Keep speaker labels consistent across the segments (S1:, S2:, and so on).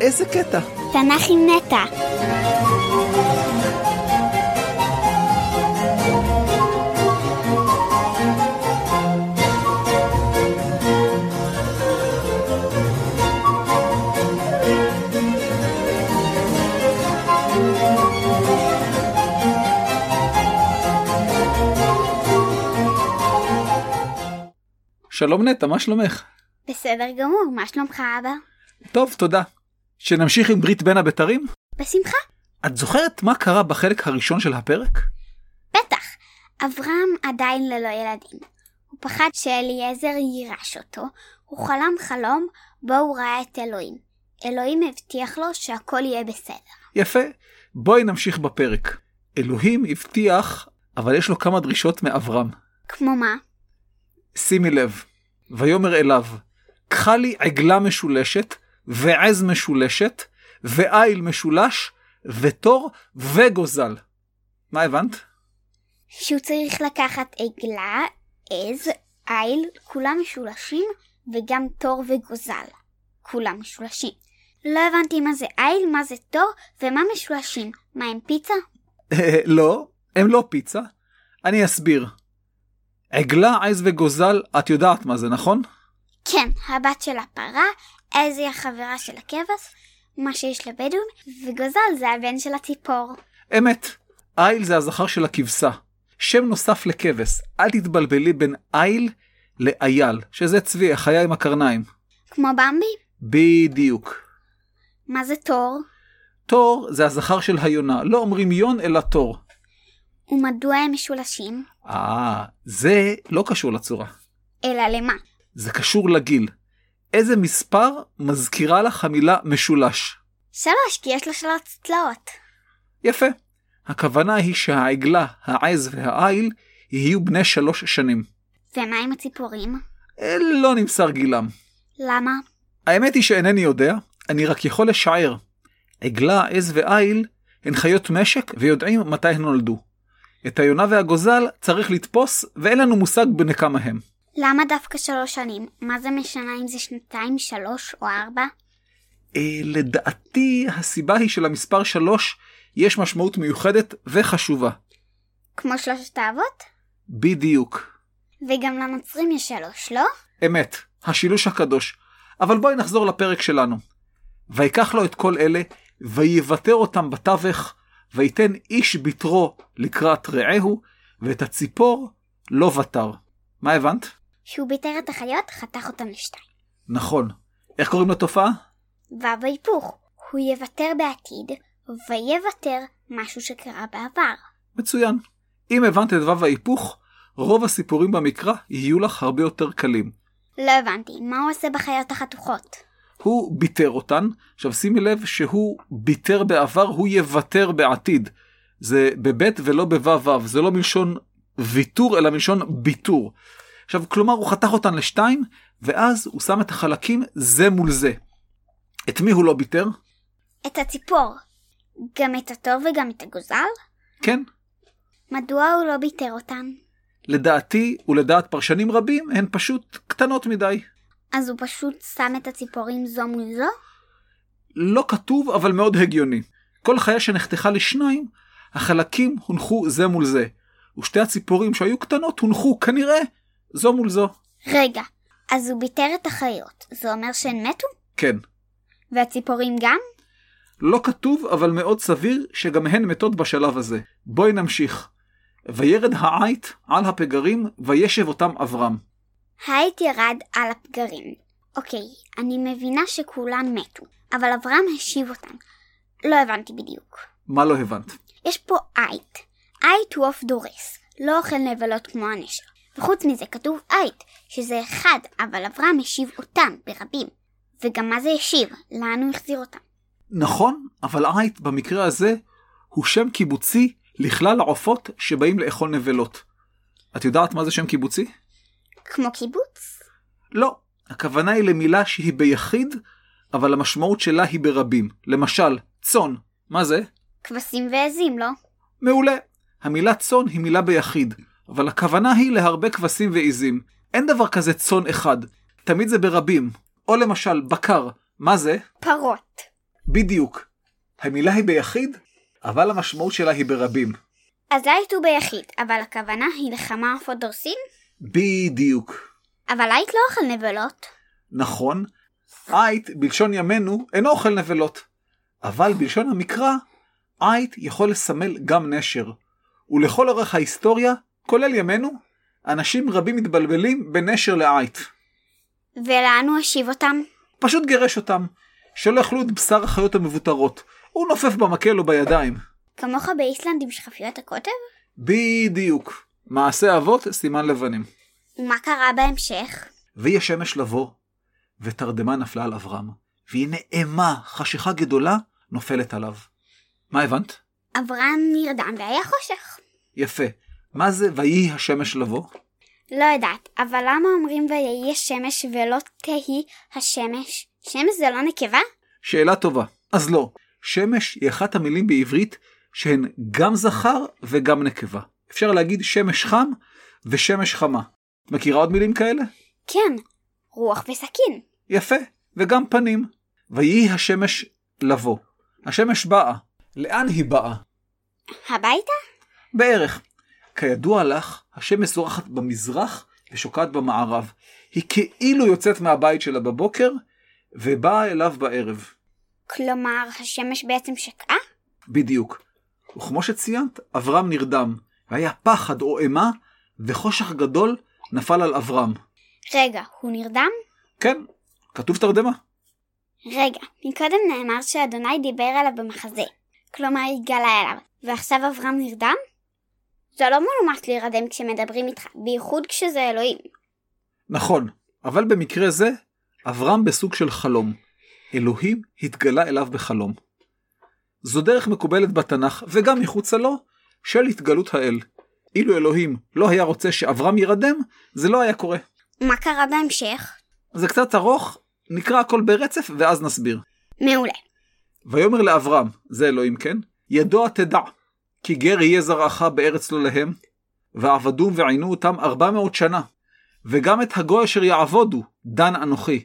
S1: איזה קטע.
S2: תנ"ך עם נטע.
S1: שלום נטע, מה שלומך?
S2: בסדר גמור, מה שלומך אבא?
S1: טוב, תודה. שנמשיך עם ברית בין הבתרים?
S2: בשמחה.
S1: את זוכרת מה קרה בחלק הראשון של הפרק?
S2: בטח, אברהם עדיין ללא ילדים. הוא פחד שאליעזר יירש אותו, הוא חלם חלום בו הוא ראה את אלוהים. אלוהים הבטיח לו שהכל יהיה בסדר.
S1: יפה, בואי נמשיך בפרק. אלוהים הבטיח, אבל יש לו כמה דרישות מאברהם.
S2: כמו מה?
S1: שימי לב, ויאמר אליו, קחה לי עגלה משולשת, ועז משולשת, ועיל משולש, ותור וגוזל. מה הבנת?
S2: שהוא צריך לקחת עגלה, עז, איל, כולם משולשים, וגם תור וגוזל. כולם משולשים. לא הבנתי מה זה איל, מה זה תור, ומה משולשים. מה עם פיצה?
S1: אה, לא, הם לא פיצה. אני אסביר. עגלה, עז וגוזל, את יודעת מה זה, נכון?
S2: כן, הבת של הפרה, עז היא החברה של הכבש, מה שיש לבדואים, וגוזל זה הבן של הציפור.
S1: אמת, איל זה הזכר של הכבשה. שם נוסף לכבש, אל תתבלבלי בין איל לאייל, שזה צבי, החיה עם הקרניים.
S2: כמו במבי?
S1: בדיוק.
S2: מה זה תור?
S1: תור זה הזכר של היונה, לא אומרים יון אלא תור.
S2: ומדוע הם משולשים?
S1: אה, זה לא קשור לצורה.
S2: אלא למה?
S1: זה קשור לגיל. איזה מספר מזכירה לך המילה משולש?
S2: שלוש, כי יש לו שלוש צלעות.
S1: יפה. הכוונה היא שהעגלה, העז והעיל יהיו בני שלוש שנים.
S2: ומה עם הציפורים?
S1: אה, לא נמסר גילם.
S2: למה?
S1: האמת היא שאינני יודע, אני רק יכול לשער. עגלה, עז ועיל הן חיות משק ויודעים מתי הן נולדו. את היונה והגוזל צריך לתפוס ואין לנו מושג בני כמה הם.
S2: למה דווקא שלוש שנים? מה זה משנה אם זה שנתיים, שלוש או ארבע?
S1: אה, לדעתי הסיבה היא שלמספר 3 יש משמעות מיוחדת וחשובה.
S2: כמו שלושת האבות?
S1: בדיוק.
S2: וגם לנוצרים יש שלוש, לא?
S1: אמת, השילוש הקדוש. אבל בואי נחזור לפרק שלנו. ויקח לו את כל אלה, ויוותר אותם בתווך, ויתן איש ביטרו לקראת רעהו, ואת הציפור לא ותר. מה הבנת?
S2: שהוא ביטר את החיות, חתך אותן לשתיים.
S1: נכון. איך קוראים לתופעה?
S2: ו' ההיפוך, הוא יוותר בעתיד, ויוותר משהו שקרה בעבר.
S1: מצוין. אם הבנת את וו ההיפוך, רוב הסיפורים במקרא יהיו לך הרבה יותר קלים.
S2: לא הבנתי, מה הוא עושה בחיות החתוכות?
S1: הוא ביטר אותן. עכשיו שימי לב שהוא ביטר בעבר, הוא יוותר בעתיד. זה בבית ולא בו"ו, זה לא מלשון ויתור אלא מלשון ביטור. עכשיו כלומר הוא חתך אותן לשתיים, ואז הוא שם את החלקים זה מול זה. את מי הוא לא ביטר?
S2: את הציפור. גם את התור וגם את הגוזל?
S1: כן,
S2: מדוע הוא לא ביטר אותן?
S1: לדעתי ולדעת פרשנים רבים הן פשוט קטנות מדי.
S2: אז הוא פשוט שם את הציפורים זו מול זו?
S1: לא כתוב אבל מאוד הגיוני. כל חיה שנחתכה לשניים, החלקים הונחו זה מול זה, ושתי הציפורים שהיו קטנות הונחו כנראה זו מול זו.
S2: רגע, אז הוא ביטר את החיות, זה אומר שהן מתו?
S1: כן,
S2: והציפורים גם?
S1: לא כתוב אבל מאוד סביר שגם הן מתות בשלב הזה. בואי נמשיך. וירד העית על הפגרים וישב אותם אברהם.
S2: העט ירד על הפגרים. אוקיי, אני מבינה שכולן מתו, אבל אברהם השיב אותן. לא הבנתי בדיוק.
S1: מה לא הבנת?
S2: יש פה עית. עית הוא עוף דורס, לא אוכל נבלות כמו הנשר. וחוץ מזה כתוב עית, שזה אחד, אבל אברהם השיב אותם ברבים. וגם מה זה השיב? לאן הוא החזיר אותם?
S1: נכון, אבל עית במקרה הזה הוא שם קיבוצי לכלל העופות שבאים לאכול נבלות. את יודעת מה זה שם קיבוצי?
S2: כמו קיבוץ?
S1: לא. הכוונה היא למילה שהיא ביחיד, אבל המשמעות שלה היא ברבים. למשל, צאן. מה זה?
S2: כבשים ועזים, לא?
S1: מעולה. המילה צאן היא מילה ביחיד, אבל הכוונה היא להרבה כבשים ועיזים. אין דבר כזה צאן אחד, תמיד זה ברבים. או למשל, בקר. מה זה?
S2: פרות.
S1: בדיוק. המילה היא ביחיד, אבל המשמעות שלה היא ברבים.
S2: הזית הוא ביחיד, אבל הכוונה היא לכמה עופות דורסים?
S1: בדיוק.
S2: אבל היית לא אוכל נבלות.
S1: נכון, עית בלשון ימינו אינו אוכל נבלות, אבל בלשון המקרא, עית יכול לסמל גם נשר. ולכל אורך ההיסטוריה, כולל ימינו, אנשים רבים מתבלבלים בין נשר לעית.
S2: ולאן הוא השיב אותם?
S1: פשוט גירש אותם, שלא יאכלו את בשר החיות המבותרות. הוא נופף במקל או בידיים.
S2: כמוך באיסלנד עם שכפיות הקוטב?
S1: בדיוק. מעשה אבות, סימן לבנים.
S2: ומה קרה בהמשך?
S1: ויהי השמש לבוא, ותרדמה נפלה על אברהם, והנה אימה, חשיכה גדולה, נופלת עליו. מה הבנת?
S2: אברהם נרדם והיה חושך.
S1: יפה. מה זה ויהי השמש לבוא?
S2: לא יודעת, אבל למה אומרים ויהי השמש ולא תהי השמש? שמש זה לא נקבה?
S1: שאלה טובה. אז לא, שמש היא אחת המילים בעברית שהן גם זכר וגם נקבה. אפשר להגיד שמש חם ושמש חמה. את מכירה עוד מילים כאלה?
S2: כן, רוח וסכין.
S1: יפה, וגם פנים. ויהי השמש לבוא. השמש באה. לאן היא באה?
S2: הביתה?
S1: בערך. כידוע לך, השמש זורחת במזרח ושוקעת במערב. היא כאילו יוצאת מהבית שלה בבוקר, ובאה אליו בערב.
S2: כלומר, השמש בעצם שקעה?
S1: בדיוק. וכמו שציינת, אברהם נרדם. והיה פחד או אימה, וחושך גדול נפל על אברהם.
S2: רגע, הוא נרדם?
S1: כן, כתוב תרדמה.
S2: רגע, מקודם נאמר שאדוני דיבר אליו במחזה. כלומר, התגלה אליו, ועכשיו אברהם נרדם? זה לא מנומס להירדם כשמדברים איתך, בייחוד כשזה אלוהים.
S1: נכון, אבל במקרה זה, אברהם בסוג של חלום. אלוהים התגלה אליו בחלום. זו דרך מקובלת בתנ"ך, וגם מחוצה לו, של התגלות האל. אילו אלוהים לא היה רוצה שאברהם יירדם, זה לא היה קורה.
S2: מה קרה בהמשך?
S1: זה קצת ארוך, נקרא הכל ברצף ואז נסביר.
S2: מעולה.
S1: ויאמר לאברהם, זה אלוהים כן, ידוע תדע, כי גר יהיה זרעך בארץ לא להם, ועבדום ועינו אותם ארבע מאות שנה, וגם את הגוי אשר יעבודו, דן אנוכי,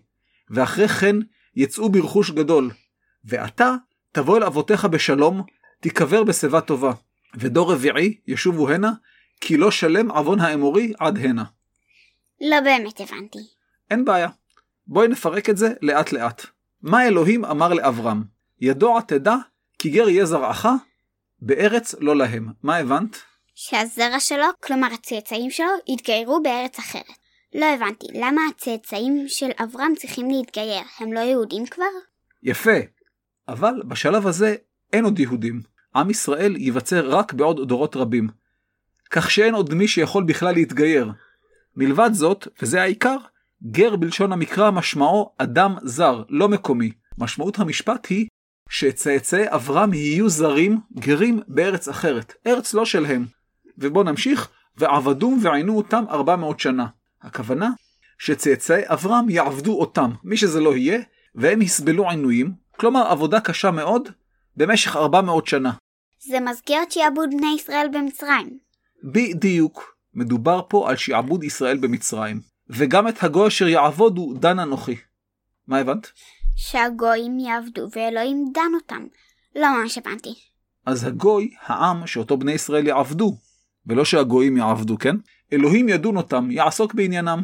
S1: ואחרי כן יצאו ברכוש גדול, ואתה תבוא אל אבותיך בשלום, תיקבר בשיבה טובה, ודור רביעי ישובו הנה, כי לא שלם עוון האמורי עד הנה.
S2: לא באמת הבנתי.
S1: אין בעיה. בואי נפרק את זה לאט לאט. מה אלוהים אמר לאברהם? ידוע תדע כי גר יהיה זרעך בארץ לא להם. מה הבנת?
S2: שהזרע שלו, כלומר הצאצאים שלו, התגיירו בארץ אחרת. לא הבנתי, למה הצאצאים של אברהם צריכים להתגייר? הם לא יהודים כבר?
S1: יפה. אבל בשלב הזה אין עוד יהודים. עם ישראל ייווצר רק בעוד דורות רבים. כך שאין עוד מי שיכול בכלל להתגייר. מלבד זאת, וזה העיקר, גר בלשון המקרא משמעו אדם זר, לא מקומי. משמעות המשפט היא שצאצאי אברהם יהיו זרים, גרים, בארץ אחרת. ארץ לא שלהם. ובואו נמשיך, ועבדום ועינו אותם 400 שנה. הכוונה, שצאצאי אברהם יעבדו אותם, מי שזה לא יהיה, והם יסבלו עינויים, כלומר עבודה קשה מאוד, במשך 400 שנה.
S2: זה מזכיר את שעבוד בני ישראל במצרים.
S1: בדיוק, מדובר פה על שעבוד ישראל במצרים, וגם את הגוי אשר יעבודו דן אנוכי. מה הבנת?
S2: שהגויים יעבדו ואלוהים דן אותם. לא ממש הבנתי.
S1: אז הגוי, העם שאותו בני ישראל יעבדו, ולא שהגויים יעבדו, כן? אלוהים ידון אותם, יעסוק בעניינם.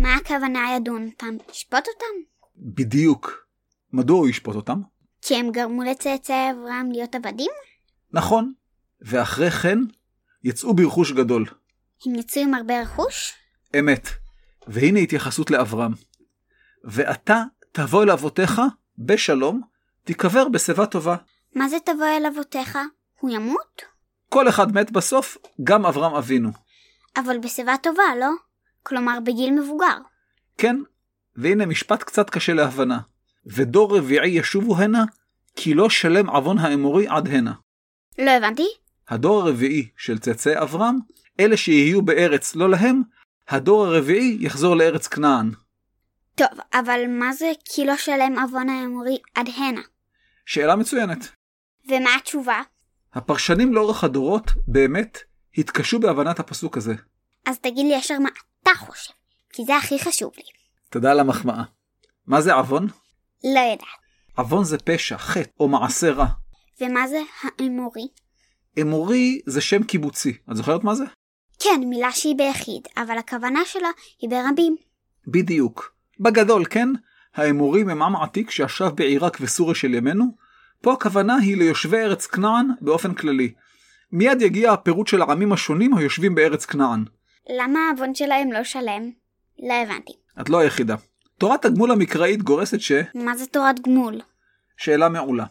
S2: מה הכוונה ידון אותם? ישפוט אותם?
S1: בדיוק. מדוע הוא ישפוט אותם?
S2: כי הם גרמו לצאצאי אברהם להיות עבדים?
S1: נכון. ואחרי כן, יצאו ברכוש גדול.
S2: הם יצאו עם הרבה רכוש?
S1: אמת. והנה התייחסות לאברהם. ואתה תבוא אל אבותיך בשלום, תיקבר בשיבה טובה.
S2: מה זה תבוא אל אבותיך? הוא ימות?
S1: כל אחד מת בסוף, גם אברהם אבינו.
S2: אבל בשיבה טובה, לא? כלומר, בגיל מבוגר.
S1: כן, והנה משפט קצת קשה להבנה. ודור רביעי ישובו הנה, כי לא שלם עוון האמורי עד הנה.
S2: לא הבנתי.
S1: הדור הרביעי של צאצאי אברהם, אלה שיהיו בארץ לא להם, הדור הרביעי יחזור לארץ כנען.
S2: טוב, אבל מה זה כי לא שלם עוון האמורי עד הנה?
S1: שאלה מצוינת.
S2: ומה התשובה?
S1: הפרשנים לאורך הדורות, באמת, התקשו בהבנת הפסוק הזה.
S2: אז תגיד לי ישר מה אתה חושב, כי זה הכי חשוב לי.
S1: תודה על המחמאה. מה זה עוון?
S2: לא יודעת.
S1: עוון זה פשע, חטא או מעשה רע.
S2: ומה זה האמורי?
S1: אמורי זה שם קיבוצי. את זוכרת מה זה?
S2: כן, מילה שהיא ביחיד, אבל הכוונה שלה היא ברבים.
S1: בדיוק. בגדול, כן? האמורים הם עם עתיק שישב בעיראק וסוריה של ימינו. פה הכוונה היא ליושבי ארץ כנען באופן כללי. מיד יגיע הפירוט של העמים השונים היושבים בארץ כנען.
S2: למה העוון שלהם לא שלם? לא הבנתי.
S1: את לא היחידה. תורת הגמול המקראית גורסת ש...
S2: מה זה תורת גמול?
S1: שאלה מעולה.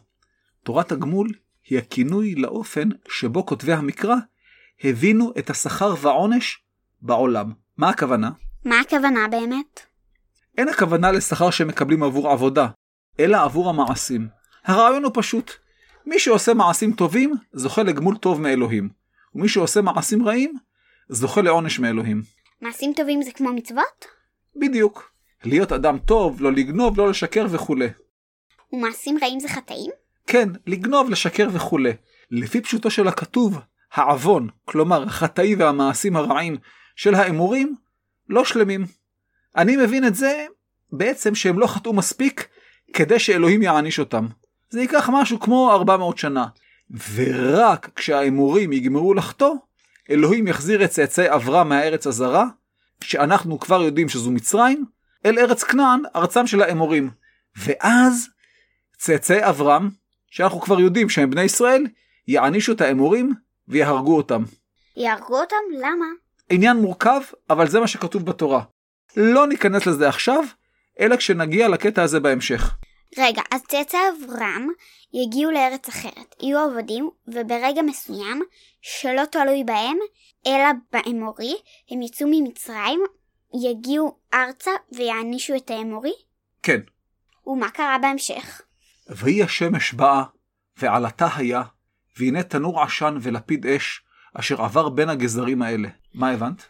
S1: תורת הגמול היא הכינוי לאופן שבו כותבי המקרא הבינו את השכר והעונש בעולם. מה הכוונה?
S2: מה הכוונה באמת?
S1: אין הכוונה לשכר שמקבלים עבור עבודה, אלא עבור המעשים. הרעיון הוא פשוט. מי שעושה מעשים טובים, זוכה לגמול טוב מאלוהים. ומי שעושה מעשים רעים, זוכה לעונש מאלוהים.
S2: מעשים טובים זה כמו מצוות?
S1: בדיוק. להיות אדם טוב, לא לגנוב, לא לשקר וכולי.
S2: ומעשים רעים זה חטאים?
S1: כן, לגנוב, לשקר וכולי. לפי פשוטו של הכתוב, העוון, כלומר החטאי והמעשים הרעים של האמורים, לא שלמים. אני מבין את זה בעצם שהם לא חטאו מספיק כדי שאלוהים יעניש אותם. זה ייקח משהו כמו 400 שנה. ורק כשהאמורים יגמרו לחטוא, אלוהים יחזיר את צאצאי אברהם מהארץ הזרה, שאנחנו כבר יודעים שזו מצרים, אל ארץ כנען, ארצם של האמורים. ואז צאצאי אברהם, שאנחנו כבר יודעים שהם בני ישראל, יענישו את האמורים ויהרגו אותם.
S2: יהרגו אותם? למה?
S1: עניין מורכב, אבל זה מה שכתוב בתורה. לא ניכנס לזה עכשיו, אלא כשנגיע לקטע הזה בהמשך.
S2: רגע, אז צאצא אברהם יגיעו לארץ אחרת, יהיו עבדים, וברגע מסוים, שלא תלוי בהם, אלא באמורי, הם יצאו ממצרים, יגיעו ארצה ויענישו את האמורי?
S1: כן.
S2: ומה קרה בהמשך?
S1: ויהי השמש באה, ועלתה היה, והנה תנור עשן ולפיד אש, אשר עבר בין הגזרים האלה. מה הבנת?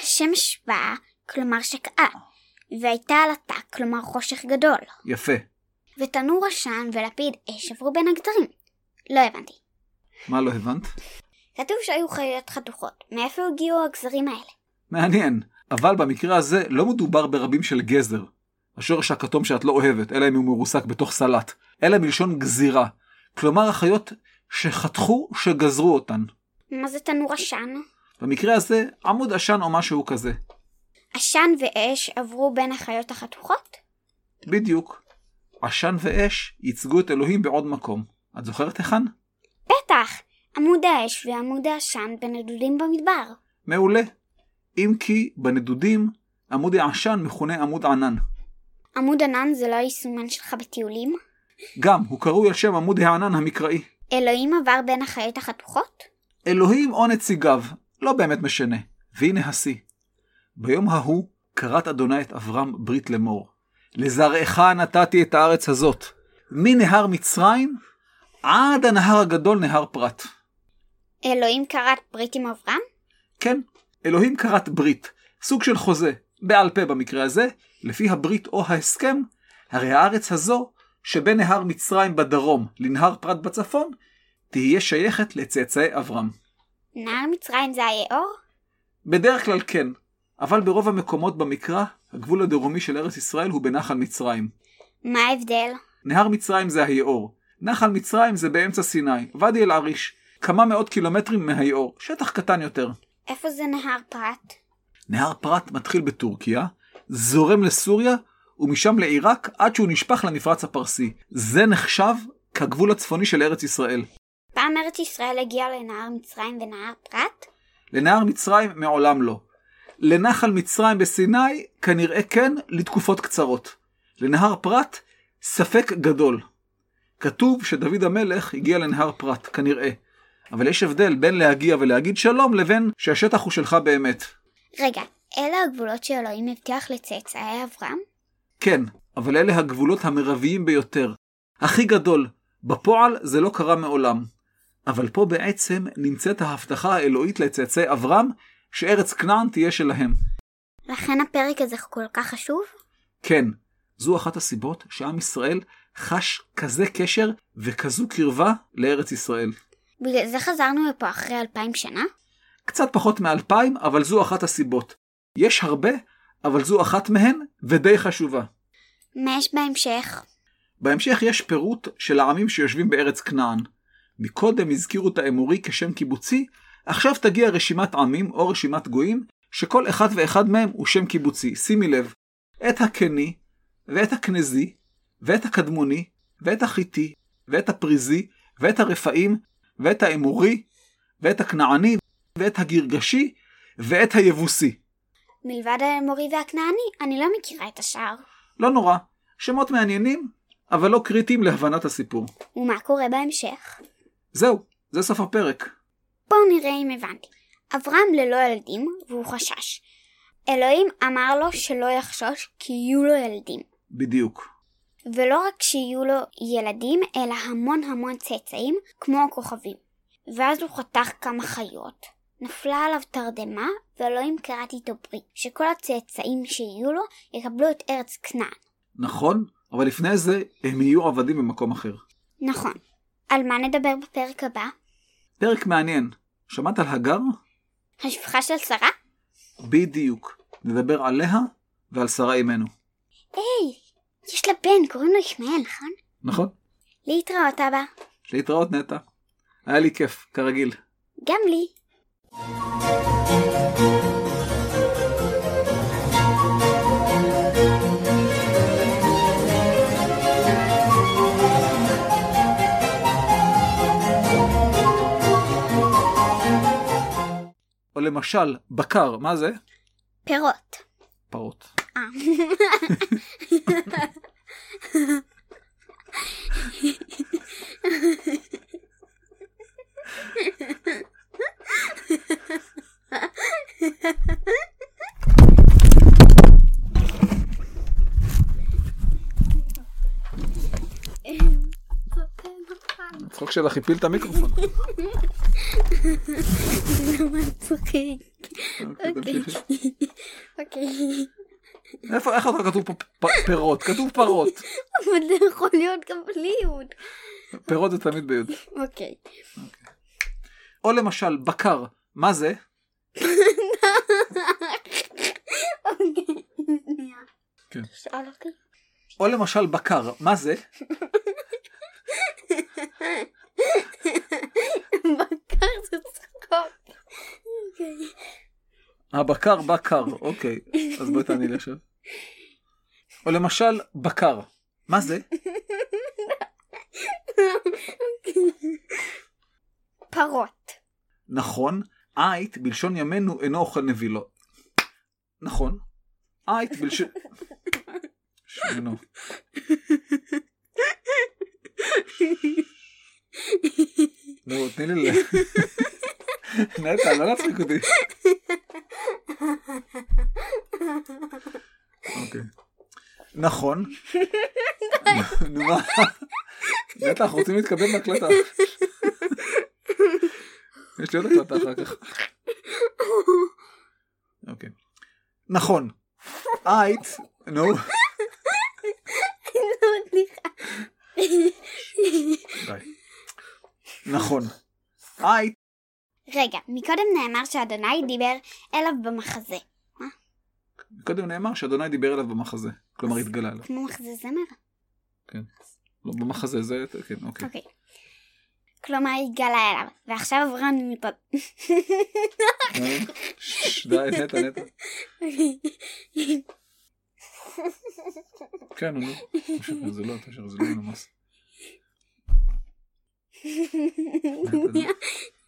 S2: השמש באה, כלומר שקעה, והייתה עלתה, כלומר חושך גדול,
S1: יפה.
S2: ותנור עשן ולפיד אש עברו בין הגדרים. לא הבנתי.
S1: מה לא הבנת?
S2: כתוב שהיו חיות חתוכות, מאיפה הגיעו הגזרים האלה?
S1: מעניין. אבל במקרה הזה לא מדובר ברבים של גזר, השורש הכתום שאת לא אוהבת, אלא אם הוא מרוסק בתוך סלט, אלא מלשון גזירה. כלומר החיות שחתכו, שגזרו אותן.
S2: מה זה תנור עשן?
S1: במקרה הזה, עמוד עשן או משהו כזה.
S2: עשן ואש עברו בין החיות החתוכות?
S1: בדיוק. עשן ואש ייצגו את אלוהים בעוד מקום. את זוכרת היכן?
S2: בטח! עמוד האש ועמוד העשן בנדודים במדבר.
S1: מעולה. אם כי בנדודים, עמוד העשן מכונה עמוד ענן.
S2: עמוד ענן זה לא היישומן שלך בטיולים?
S1: גם, הוא קרוי על שם עמוד הענן המקראי.
S2: אלוהים עבר בין החיות החתוכות?
S1: אלוהים או נציגיו, לא באמת משנה. והנה השיא. ביום ההוא כרת אדוני את אברהם ברית לאמור. לזרעך נתתי את הארץ הזאת, מנהר מצרים עד הנהר הגדול נהר פרת.
S2: אלוהים כרת ברית עם אברהם?
S1: כן, אלוהים כרת ברית, סוג של חוזה, בעל פה במקרה הזה, לפי הברית או ההסכם, הרי הארץ הזו, שבין נהר מצרים בדרום לנהר פרת בצפון, תהיה שייכת לצאצאי אברהם.
S2: נהר מצרים זה היאור?
S1: בדרך כלל כן, אבל ברוב המקומות במקרא, הגבול הדרומי של ארץ ישראל הוא בנחל מצרים.
S2: מה ההבדל?
S1: נהר מצרים זה היאור, נחל מצרים זה באמצע סיני, ואדי אל-עריש, כמה מאות קילומטרים מהיאור, שטח קטן יותר.
S2: איפה זה נהר פרת?
S1: נהר פרת מתחיל בטורקיה, זורם לסוריה, ומשם לעיראק עד שהוא נשפך למפרץ הפרסי. זה נחשב כגבול הצפוני של ארץ ישראל.
S2: פעם ארץ ישראל הגיעה לנהר מצרים ונהר פרת?
S1: לנהר מצרים מעולם לא. לנחל מצרים בסיני כנראה כן לתקופות קצרות. לנהר פרת ספק גדול. כתוב שדוד המלך הגיע לנהר פרת, כנראה. אבל יש הבדל בין להגיע ולהגיד שלום לבין שהשטח הוא שלך באמת.
S2: רגע, אלה הגבולות שאלוהים הבטיח לצאצאי אברהם?
S1: כן, אבל אלה הגבולות המרביים ביותר. הכי גדול, בפועל זה לא קרה מעולם. אבל פה בעצם נמצאת ההבטחה האלוהית לצאצאי אברהם, שארץ כנען תהיה שלהם.
S2: לכן הפרק הזה כל כך חשוב?
S1: כן, זו אחת הסיבות שעם ישראל חש כזה קשר וכזו קרבה לארץ ישראל.
S2: בגלל זה חזרנו לפה אחרי אלפיים שנה?
S1: קצת פחות מאלפיים, אבל זו אחת הסיבות. יש הרבה, אבל זו אחת מהן, ודי חשובה.
S2: מה יש בהמשך?
S1: בהמשך יש פירוט של העמים שיושבים בארץ כנען. מקודם הזכירו את האמורי כשם קיבוצי, עכשיו תגיע רשימת עמים או רשימת גויים, שכל אחד ואחד מהם הוא שם קיבוצי. שימי לב, את הקני, ואת הכנזי, ואת הקדמוני, ואת החיתי, ואת הפריזי, ואת הרפאים, ואת האמורי, ואת הכנעני, ואת הגרגשי, ואת היבוסי.
S2: מלבד האמורי והכנעני, אני לא מכירה את השאר.
S1: לא נורא, שמות מעניינים, אבל לא קריטיים להבנת הסיפור.
S2: ומה קורה בהמשך?
S1: זהו, זה סוף הפרק.
S2: בואו נראה אם הבנתי. אברהם ללא ילדים, והוא חשש. אלוהים אמר לו שלא יחשוש, כי יהיו לו ילדים.
S1: בדיוק.
S2: ולא רק שיהיו לו ילדים, אלא המון המון צאצאים, כמו הכוכבים. ואז הוא חתך כמה חיות. נפלה עליו תרדמה, ואלוהים כרת איתו ברית, שכל הצאצאים שיהיו לו יקבלו את ארץ כנען.
S1: נכון, אבל לפני זה הם יהיו עבדים במקום אחר.
S2: נכון. על מה נדבר בפרק הבא?
S1: פרק מעניין. שמעת על הגר?
S2: השפחה של שרה?
S1: בדיוק. נדבר עליה ועל שרה אימנו.
S2: היי, יש לה בן, קוראים לו ישמעאל, נכון?
S1: נכון?
S2: להתראות אבא.
S1: להתראות נטע. היה לי כיף, כרגיל.
S2: גם לי.
S1: או למשל, בקר, מה זה?
S2: פירות.
S1: פרות.
S2: אה.
S1: הצחוק שלך הפיל את המיקרופון.
S2: אוקיי. אוקיי.
S1: איפה, איך אתה כתוב פה פ- פירות? כתוב פרות.
S2: אבל זה יכול להיות גם בלי יוד.
S1: פירות זה תמיד ביוד.
S2: אוקיי.
S1: או למשל, בקר, מה זה?
S2: אוקיי. שנייה.
S1: כן.
S2: שאל אותי.
S1: או למשל, בקר, מה זה?
S2: בקר זה צחוק. אוקיי.
S1: הבקר בקר, אוקיי. אז בואי תעני לי עכשיו. או למשל, בקר, מה זה?
S2: פרות.
S1: נכון, עית בלשון ימינו אינו אוכל נבילות. נכון, עית בלשון... שמנו. נו, תני לי ל... נטע, לא להצחיק אותי. אוקיי. נכון. נו, מה? נטע, אנחנו רוצים להתקבל מהקלטה. יש לי עוד הקלטה אחר כך. אוקיי. נכון. אייט, נו,
S2: לא מצליחה.
S1: די. נכון. אייט,
S2: רגע, מקודם נאמר שאדוני דיבר אליו במחזה.
S1: קודם נאמר שאדוני דיבר אליו במחזה. כלומר, התגלה אליו.
S2: כמו מחזה זמר.
S1: לא, במחזה זה, כן, אוקיי.
S2: אוקיי. כלומר, התגלה אליו, ועכשיו אברהם מפה.
S1: נו, שש, די, נטע, נטע. כן, נו, נו. זה לא, תשאיר, זה לא מנומס.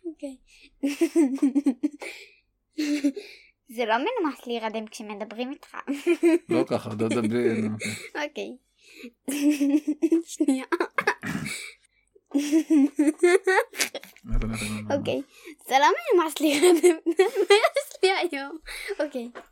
S2: אוקיי. זה לא מנומס להירדם כשמדברים איתך.
S1: לא ככה, ד- ד- ד- נו, אוקיי.
S2: אוקיי. אה. שנייה.
S1: נטע, נטע, נטע, נטע.
S2: אוקיי. זה לא מנומס להירדם. מה יש לי היום? אוקיי.